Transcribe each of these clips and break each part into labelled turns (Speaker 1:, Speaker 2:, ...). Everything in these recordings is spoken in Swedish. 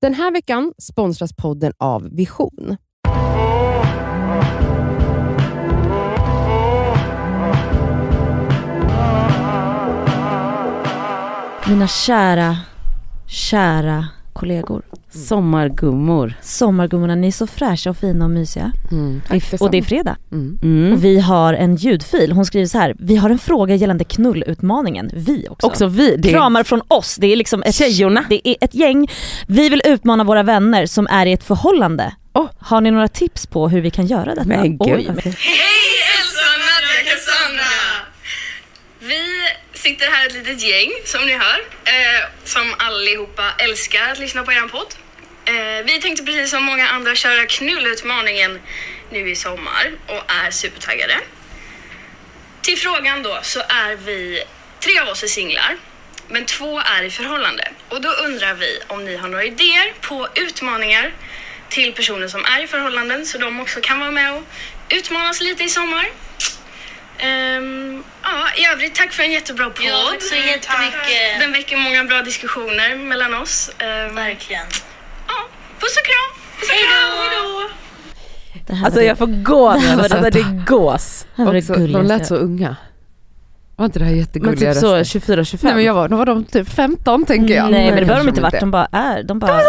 Speaker 1: Den här veckan sponsras podden av Vision.
Speaker 2: Mina kära, kära kollegor.
Speaker 3: Sommargummor.
Speaker 2: Sommargummorna, ni är så fräscha och fina och mysiga. och det är fredag.
Speaker 3: Mm.
Speaker 2: Och vi har en ljudfil. Hon skriver så här, vi har en fråga gällande knullutmaningen. Vi också.
Speaker 3: Också vi. Det är
Speaker 2: Kramar från oss, det är liksom ett,
Speaker 3: tjejorna.
Speaker 2: det är ett gäng. Vi vill utmana våra vänner som är i ett förhållande.
Speaker 3: Åh.
Speaker 2: Har ni några tips på hur vi kan göra detta?
Speaker 3: Men
Speaker 2: Oj,
Speaker 3: gud. Okej.
Speaker 4: Hej Elsa, Nadja, Cassandra! Vi sitter här ett litet gäng som ni hör, eh, som allihopa älskar att lyssna på er podd. Eh, vi tänkte precis som många andra köra knullutmaningen nu i sommar och är supertaggade. Till frågan då så är vi, tre av oss är singlar, men två är i förhållande. Och då undrar vi om ni har några idéer på utmaningar till personer som är i förhållanden så de också kan vara med och utmanas lite i sommar. Ehm, ja, i övrigt tack för en jättebra podd.
Speaker 5: Ja, tack så jättemycket.
Speaker 4: Den väcker många bra diskussioner mellan oss. Ehm,
Speaker 5: Verkligen.
Speaker 4: ja, puss och kram! Puss och kram! Hejdå!
Speaker 2: det här
Speaker 6: Alltså
Speaker 2: var det,
Speaker 6: jag får gås.
Speaker 2: här var
Speaker 6: Alltså
Speaker 2: det-
Speaker 6: det är gås.
Speaker 2: här var det
Speaker 7: Också, de
Speaker 2: gulligaste.
Speaker 7: lät så unga. Var inte det här
Speaker 3: Men
Speaker 7: jättegulliga
Speaker 3: typ så
Speaker 7: röster?
Speaker 3: 24-25.
Speaker 7: Nej men jag var, då var de typ 15 tänker jag.
Speaker 2: Mm. Nej men det behöver de
Speaker 7: kanske
Speaker 2: inte varit, de bara är. De bara...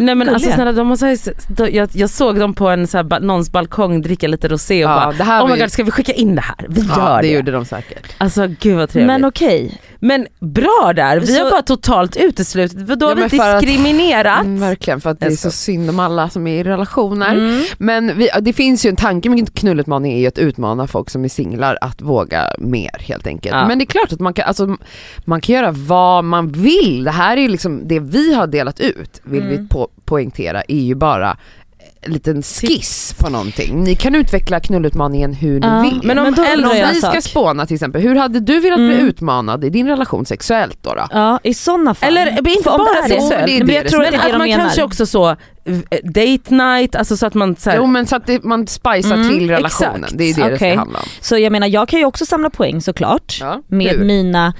Speaker 3: Nej men alltså
Speaker 2: Gulliga.
Speaker 3: snälla de har så här, de, jag, jag såg dem på en så här, ba- någons balkong dricka lite rosé och
Speaker 7: Ja,
Speaker 3: bara
Speaker 7: det här
Speaker 3: oh
Speaker 7: var
Speaker 3: my
Speaker 7: ju-
Speaker 3: god ska vi skicka in det här? Vi
Speaker 7: Ja
Speaker 3: gör
Speaker 7: det
Speaker 3: det.
Speaker 7: gjorde de säkert.
Speaker 3: Alltså gud vad trevligt.
Speaker 2: Men
Speaker 3: Men,
Speaker 2: okej,
Speaker 3: bra där, vi har
Speaker 2: Så-
Speaker 3: bara totalt uteslutit, då
Speaker 7: Ja,
Speaker 3: har vi
Speaker 7: men för att-
Speaker 3: diskriminerat.
Speaker 7: Mm, verkligen för att det är
Speaker 3: Älskar.
Speaker 7: så synd om alla som är i relationer.
Speaker 2: Mm.
Speaker 7: Men vi, det finns ju en tanke med knullutmaning är ju att utmana folk som är singlar att våga mer helt enkelt.
Speaker 3: Ja.
Speaker 7: Men det är klart att man kan, alltså, man kan göra vad man vill. Det här är ju liksom det vi har delat ut vill
Speaker 2: Mm.
Speaker 7: vi på, poängtera är ju bara en liten skiss på någonting. Ni kan utveckla knullutmaningen hur ni
Speaker 2: Ja.
Speaker 7: vill.
Speaker 3: Men om
Speaker 2: Men då
Speaker 3: äldre-
Speaker 2: undrar
Speaker 7: Om
Speaker 2: jag en
Speaker 7: vi ska
Speaker 2: sak.
Speaker 7: spåna till exempel, hur hade du velat bli
Speaker 2: Mm.
Speaker 7: utmanad i din relation sexuellt då? då?
Speaker 2: Ja, i sådana fall.
Speaker 3: Eller inte
Speaker 2: Mm. För om
Speaker 3: bara
Speaker 2: det är
Speaker 3: det,
Speaker 2: så-
Speaker 3: så-
Speaker 2: men
Speaker 7: det är det
Speaker 2: jag tror
Speaker 7: det
Speaker 2: att
Speaker 3: Men
Speaker 2: det är
Speaker 3: att
Speaker 2: det
Speaker 3: man
Speaker 2: de menar.
Speaker 3: kanske också så, eh, date night, alltså så att man så här,
Speaker 7: Jo men så att det, man spicar
Speaker 2: Mm,
Speaker 7: till relationen,
Speaker 2: exakt.
Speaker 7: det är det det
Speaker 2: Okej.
Speaker 7: ska handla om.
Speaker 2: Så jag menar jag kan ju också samla poäng såklart
Speaker 7: Ja.
Speaker 2: med
Speaker 7: Hur?
Speaker 2: mina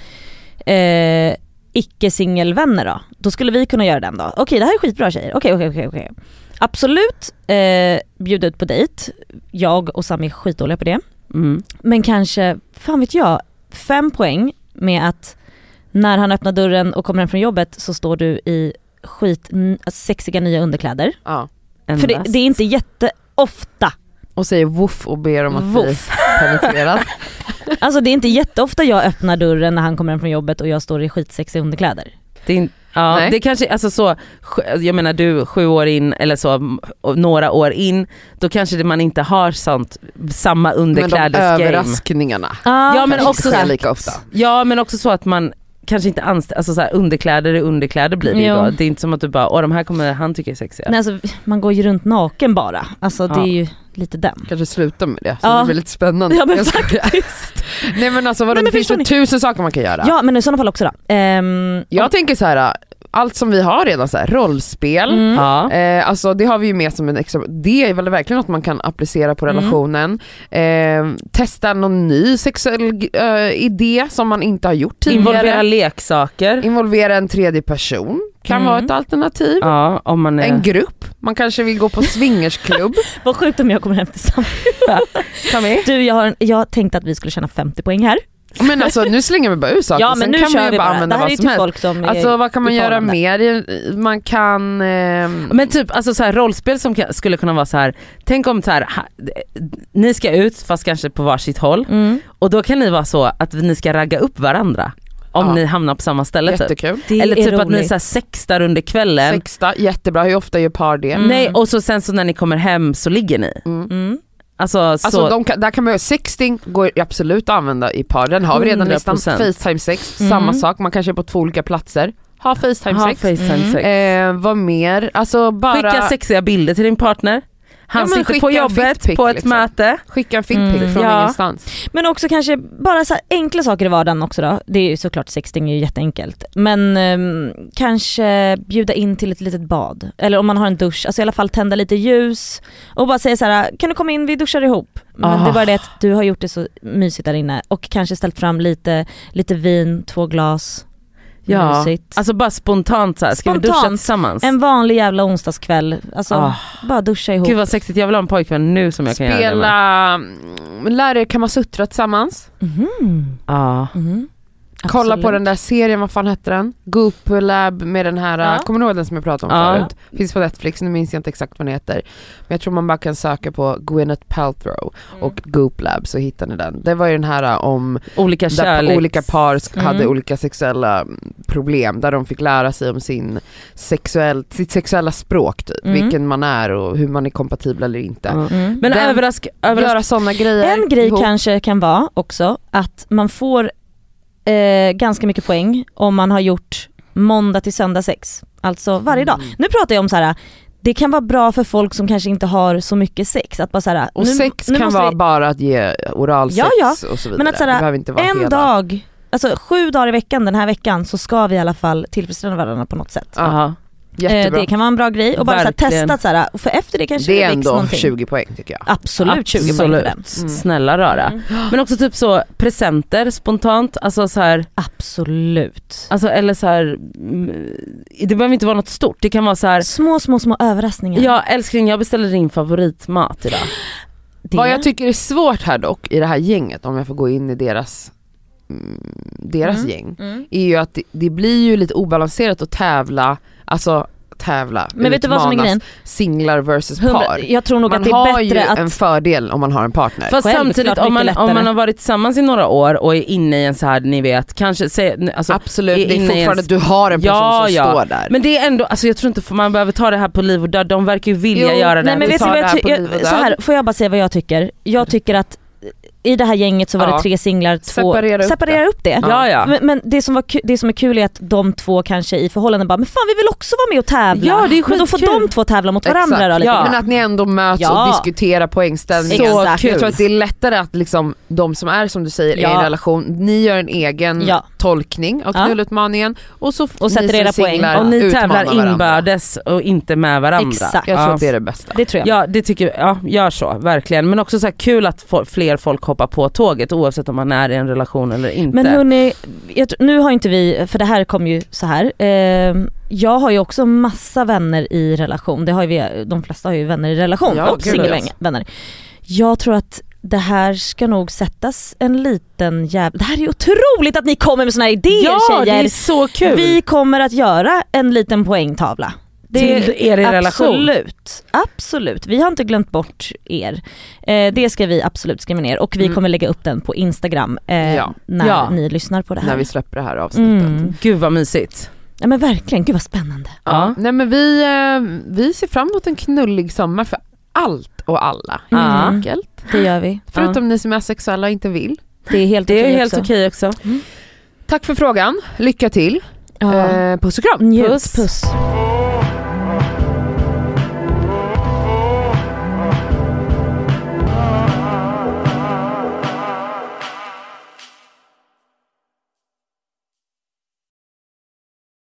Speaker 2: eh, icke-singelvänner då. Då skulle vi kunna göra den då. Okej det här är skitbra tjejer, okej okej okej. okej. Absolut eh, bjuda ut på dejt, jag och Sami är skitdåliga på det.
Speaker 3: mm.
Speaker 2: Men kanske, fan vet jag, fem poäng med att när han öppnar dörren och kommer hem från jobbet så står du i skit sexiga nya underkläder.
Speaker 7: Ja.
Speaker 2: För det,
Speaker 3: endast.
Speaker 2: det är inte jätteofta
Speaker 7: Och säger woof och ber om att bli
Speaker 2: Woof.
Speaker 7: penetrerad.
Speaker 2: Alltså det är inte jätteofta jag öppnar dörren när han kommer hem från jobbet och jag står i skitsexiga underkläder.
Speaker 3: Det, är, in- ja,
Speaker 7: Nej.
Speaker 3: det kanske, alltså så, sj- jag menar du sju år in eller så, m- och några år in, då kanske det, man inte har sånt, samma
Speaker 7: Men de
Speaker 3: underklädesgame.
Speaker 7: överraskningarna
Speaker 3: Ja, men
Speaker 7: kanske
Speaker 3: också
Speaker 7: inte sker
Speaker 3: så-
Speaker 7: lika ofta.
Speaker 3: Ja men också så att man kanske inte anställer, alltså så här, underkläder är underkläder blir det ju
Speaker 2: Jo.
Speaker 3: då. Det är inte som att du bara, åh de här kommer han tycker är sexiga.
Speaker 2: Men alltså man går ju runt naken bara. Alltså det
Speaker 3: Ja.
Speaker 2: är ju lite den.
Speaker 7: Kanske sluta med det, så
Speaker 2: Ja.
Speaker 7: det blir lite spännande.
Speaker 2: Ja, men
Speaker 7: Jag skojar. Nej men alltså vadå,
Speaker 2: Nej, men
Speaker 7: det finns
Speaker 2: förstår
Speaker 7: ju tusen saker man kan göra.
Speaker 2: Ja men i sådana fall också då. Ehm,
Speaker 7: Jag tänker så här, allt som vi har redan, så här, rollspel,
Speaker 2: mm.
Speaker 3: Ja.
Speaker 7: Eh, alltså det har vi ju med som en extra, det är väl verkligen något man kan applicera på
Speaker 2: Mm.
Speaker 7: relationen. Eh, testa någon ny sexuell eh, idé som man inte har gjort tidigare.
Speaker 3: Involvera
Speaker 7: Mm.
Speaker 3: leksaker.
Speaker 7: Involvera en tredje person kan
Speaker 2: Mm.
Speaker 7: vara ett alternativ.
Speaker 3: Ja om man är...
Speaker 7: En grupp, man kanske vill gå på swingersklubb.
Speaker 2: vad sjukt om jag kommer hem tillsammans. Du jag, har en, jag tänkte att vi skulle tjäna 50 poäng här.
Speaker 7: Men alltså nu slänger vi bara ut saker,
Speaker 2: Ja men
Speaker 7: sen
Speaker 2: nu
Speaker 7: kan man
Speaker 2: kör
Speaker 7: ju
Speaker 2: vi
Speaker 7: bara
Speaker 2: bara. Det
Speaker 7: använda
Speaker 2: här är ju
Speaker 7: vad som
Speaker 2: till
Speaker 7: helst.
Speaker 2: folk som är
Speaker 7: Alltså vad kan man
Speaker 2: i
Speaker 7: göra
Speaker 2: förhållande.
Speaker 7: mer? Man kan... Eh,
Speaker 3: Men typ alltså så här, rollspel som ka- skulle kunna vara så här. tänk om så här, ha, ni ska ut fast kanske på varsitt håll
Speaker 2: Mm.
Speaker 3: och då kan ni vara så att ni ska ragga upp varandra om
Speaker 7: Ja.
Speaker 3: ni hamnar på samma ställe typ.
Speaker 7: jättekul.
Speaker 2: Det
Speaker 3: Eller
Speaker 2: är
Speaker 3: typ att ni
Speaker 2: roligt.
Speaker 3: så här, sextar under kvällen. Mm.
Speaker 7: Sexta, jättebra. Hur ofta gör par det?
Speaker 3: Nej och så sen så när ni kommer hem så ligger ni.
Speaker 2: Mm.
Speaker 3: Alltså, så,
Speaker 7: Alltså de kan, där kan man göra sexting, går ju absolut att använda i par. Den har vi redan nästan.
Speaker 3: 100%.
Speaker 7: Facetime sex,
Speaker 2: Mm.
Speaker 7: samma sak. Man kanske är på två olika platser. Ha Facetime
Speaker 3: ha
Speaker 7: sex.
Speaker 3: facetime sex.
Speaker 7: Eh, vad mer? Alltså bara
Speaker 3: Skicka sexiga bilder till din partner. Han
Speaker 7: Ja, men
Speaker 3: sitter
Speaker 7: skicka
Speaker 3: på
Speaker 7: en
Speaker 3: jobbet
Speaker 7: fickpic,
Speaker 3: på ett
Speaker 7: liksom.
Speaker 3: möte.
Speaker 7: skicka en filmpick
Speaker 2: Mm,
Speaker 7: från
Speaker 3: Ja.
Speaker 7: ingenstans.
Speaker 2: Men också kanske bara så här enkla saker i vardagen också då. Det är ju såklart sexting är ju jätteenkelt. Men ehm, kanske bjuda in till ett litet bad. Eller om man har en dusch, alltså i alla fall tända lite ljus. Och bara säga så här: kan du komma in, vi duschar ihop. Men det är
Speaker 7: Ah.
Speaker 2: bara det att du har gjort det så mysigt där inne. Och kanske ställt fram lite, lite vin, två glas.
Speaker 3: Ja,
Speaker 2: Mysigt.
Speaker 3: alltså bara spontant så här. ska vi duscha
Speaker 2: Spontant.
Speaker 3: tillsammans?
Speaker 2: En vanlig jävla onsdagskväll, alltså
Speaker 3: Ah.
Speaker 2: bara duscha ihop.
Speaker 3: Gud vad sexigt, jag vill ha en pojkvän nu som jag kan göra det med.
Speaker 7: Spela, mm, lära er kamasutra tillsammans.
Speaker 2: Mhm.
Speaker 3: Ja.
Speaker 2: Mhm.
Speaker 7: Kolla på
Speaker 2: Absolut.
Speaker 7: den där serien, vad fan hette den? Goop Lab med den här, äh,
Speaker 2: Ja.
Speaker 7: kommer du ihåg den som jag pratade om
Speaker 3: Ja.
Speaker 7: förut? Finns på Netflix, nu minns jag inte exakt vad den heter. Men jag tror man bara kan söka på Gwyneth Paltrow och Goop Lab så hittar ni den. Det var ju den här äh, om
Speaker 3: Olika
Speaker 7: där
Speaker 3: kärlek.
Speaker 7: olika par sk-
Speaker 2: Mm.
Speaker 7: hade olika sexuella mm, problem där de fick lära sig om sin sexuell, sitt sexuella språk typ,
Speaker 2: Mm.
Speaker 7: vilken man är och hur man är kompatibel eller inte.
Speaker 3: Ja.
Speaker 2: Mm.
Speaker 7: Den-
Speaker 3: Men överraska, överraska.
Speaker 7: Göra sådana grejer
Speaker 2: En grej
Speaker 7: ihop.
Speaker 2: kanske kan vara också att man får eh, ganska mycket poäng om man har gjort måndag till söndag sex. Alltså varje dag.
Speaker 7: Mm.
Speaker 2: Nu pratar jag om så här. det kan vara bra för folk som kanske inte har så mycket sex. Att bara så här,
Speaker 7: Och
Speaker 2: nu,
Speaker 7: sex
Speaker 2: nu
Speaker 7: kan
Speaker 2: måste
Speaker 7: vara
Speaker 2: vi-
Speaker 7: bara att ge oralsex
Speaker 2: Ja, ja.
Speaker 7: och så vidare.
Speaker 2: Men att sådär,
Speaker 7: det behöver inte vara
Speaker 2: en
Speaker 7: hela.
Speaker 2: dag, alltså sju dagar i veckan den här veckan så ska vi i alla fall tillfredsställa varandra på något sätt.
Speaker 7: Ja,
Speaker 3: Aha.
Speaker 2: Eh,
Speaker 7: jättebra.
Speaker 2: det kan vara en bra grej och bara så här,
Speaker 3: Verkligen.
Speaker 2: testa så här, och för efter det kanske
Speaker 7: det är
Speaker 2: väcks
Speaker 7: ändå
Speaker 2: någonting.
Speaker 7: 20 poäng tycker jag.
Speaker 2: Absolut 20 poäng för
Speaker 3: Absolut.
Speaker 2: den.
Speaker 3: Snälla rara. Men också typ så presenter spontant, alltså så här,
Speaker 2: Absolut.
Speaker 3: alltså eller så här, mm, det behöver inte vara något stort, det kan vara så här.
Speaker 2: Små små små överraskningar.
Speaker 3: Ja älskling jag beställer din favoritmat idag.
Speaker 2: Det-
Speaker 7: Vad jag tycker är svårt här dock i det här gänget, om jag får gå in i deras, mm, deras gäng,
Speaker 2: Mm.
Speaker 7: är ju att Mm. det, det blir ju lite obalanserat att tävla, alltså tävla,
Speaker 2: Men vet du vad som är
Speaker 7: utmanas,
Speaker 2: grejen?
Speaker 7: singlar versus
Speaker 2: Hundra-
Speaker 7: par.
Speaker 2: Jag tror nog
Speaker 7: Man
Speaker 2: att det är
Speaker 7: har ju
Speaker 2: bättre att...
Speaker 7: en fördel om man har en partner.
Speaker 3: Fast
Speaker 2: Självklart
Speaker 3: samtidigt
Speaker 2: mycket
Speaker 3: om man, om
Speaker 2: lättare.
Speaker 3: man har varit tillsammans i några år och är inne i en så här, ni vet, kanske, säg, alltså,
Speaker 7: Absolut, det
Speaker 3: inne i
Speaker 7: är
Speaker 3: en-
Speaker 7: fortfarande att du har en person
Speaker 3: Ja,
Speaker 7: som
Speaker 3: ja.
Speaker 7: står där.
Speaker 3: Men det är ändå, alltså jag tror inte man behöver ta det här på liv och död, de verkar ju vilja
Speaker 7: Jo,
Speaker 3: göra det.
Speaker 2: Nej
Speaker 3: här.
Speaker 2: men
Speaker 7: Vi
Speaker 2: vet du
Speaker 7: tar
Speaker 2: vad
Speaker 7: det
Speaker 2: jag
Speaker 7: här på
Speaker 2: tycker?
Speaker 7: liv och
Speaker 2: Så
Speaker 7: död.
Speaker 2: här, får jag bara säga vad jag tycker? Jag tycker att i det här gänget så var
Speaker 7: Ja.
Speaker 2: det tre singlar, två...
Speaker 7: Separera upp
Speaker 2: Separera upp det.
Speaker 3: Ja, ja.
Speaker 2: Men, men det, som var ku- det som är kul är att de två kanske i förhållanden bara, men fan vi vill också vara med och tävla.
Speaker 3: Ja, det är
Speaker 2: men då får
Speaker 3: skitkul.
Speaker 2: de två tävla mot varandra
Speaker 7: Exakt.
Speaker 2: då liksom. lite
Speaker 3: Ja.
Speaker 2: grann.
Speaker 7: Men att ni ändå möts
Speaker 2: Ja.
Speaker 7: och diskuterar poängställningen.
Speaker 2: Så
Speaker 7: jag
Speaker 3: kul.
Speaker 7: tror att det är lättare att liksom, de som är som du säger
Speaker 2: Ja.
Speaker 7: i en relation, ni gör en egen
Speaker 2: Ja.
Speaker 7: tolkning av
Speaker 2: Ja.
Speaker 7: knullutmaningen och så
Speaker 2: Och sätter
Speaker 7: som
Speaker 2: era poäng.
Speaker 7: singlar
Speaker 3: och ni
Speaker 7: utmanar
Speaker 3: tävlar
Speaker 7: varandra.
Speaker 3: inbördes och inte med varandra.
Speaker 2: Exakt.
Speaker 7: Jag tror
Speaker 3: Ja.
Speaker 7: att det är det bästa.
Speaker 2: Det tror jag.
Speaker 3: Ja det tycker jag, ja, gör så verkligen. Men också så här kul att få, fler folk hoppar på tåget oavsett om man är i en relation eller inte.
Speaker 2: Men hörni, jag, tr- nu har inte vi, för det här kom ju så här. Ehm, jag har ju också massa vänner i relation. Det har ju vi, de flesta har ju vänner i relation
Speaker 7: Ja,
Speaker 2: och
Speaker 7: gud,
Speaker 2: singelvänner. Jag tror att det här ska nog sättas en liten jävla... Det här är ju otroligt att ni kommer med såna här idéer
Speaker 3: ja det
Speaker 2: tjejer.
Speaker 3: är så kul!
Speaker 2: Vi kommer att göra en liten poängtavla.
Speaker 3: Till er i relation.
Speaker 2: Absolut, absolut. Vi har inte glömt bort er. Eh, det ska vi absolut skriva ner och vi
Speaker 7: Mm.
Speaker 2: kommer lägga upp den på Instagram eh,
Speaker 7: Ja.
Speaker 2: när
Speaker 3: Ja.
Speaker 2: ni lyssnar på det här.
Speaker 7: När vi släpper det här avsnittet.
Speaker 2: mm.
Speaker 3: Gud vad mysigt.
Speaker 2: ja, men verkligen, gud vad spännande.
Speaker 3: Ja.
Speaker 7: Nej men vi, eh, vi ser fram emot en knullig sommar för allt och alla.
Speaker 2: Mm.
Speaker 3: Ja.
Speaker 7: Enkelt.
Speaker 2: Det gör vi.
Speaker 7: Förutom ni som är sexuella och inte vill.
Speaker 2: Det är helt
Speaker 3: Det är
Speaker 2: okej
Speaker 3: helt
Speaker 2: också.
Speaker 3: okej också.
Speaker 7: Tack för frågan, lycka till.
Speaker 2: Ja.
Speaker 7: Eh, puss och kram.
Speaker 2: Njut,
Speaker 3: Puss.
Speaker 2: puss.
Speaker 5: Åh,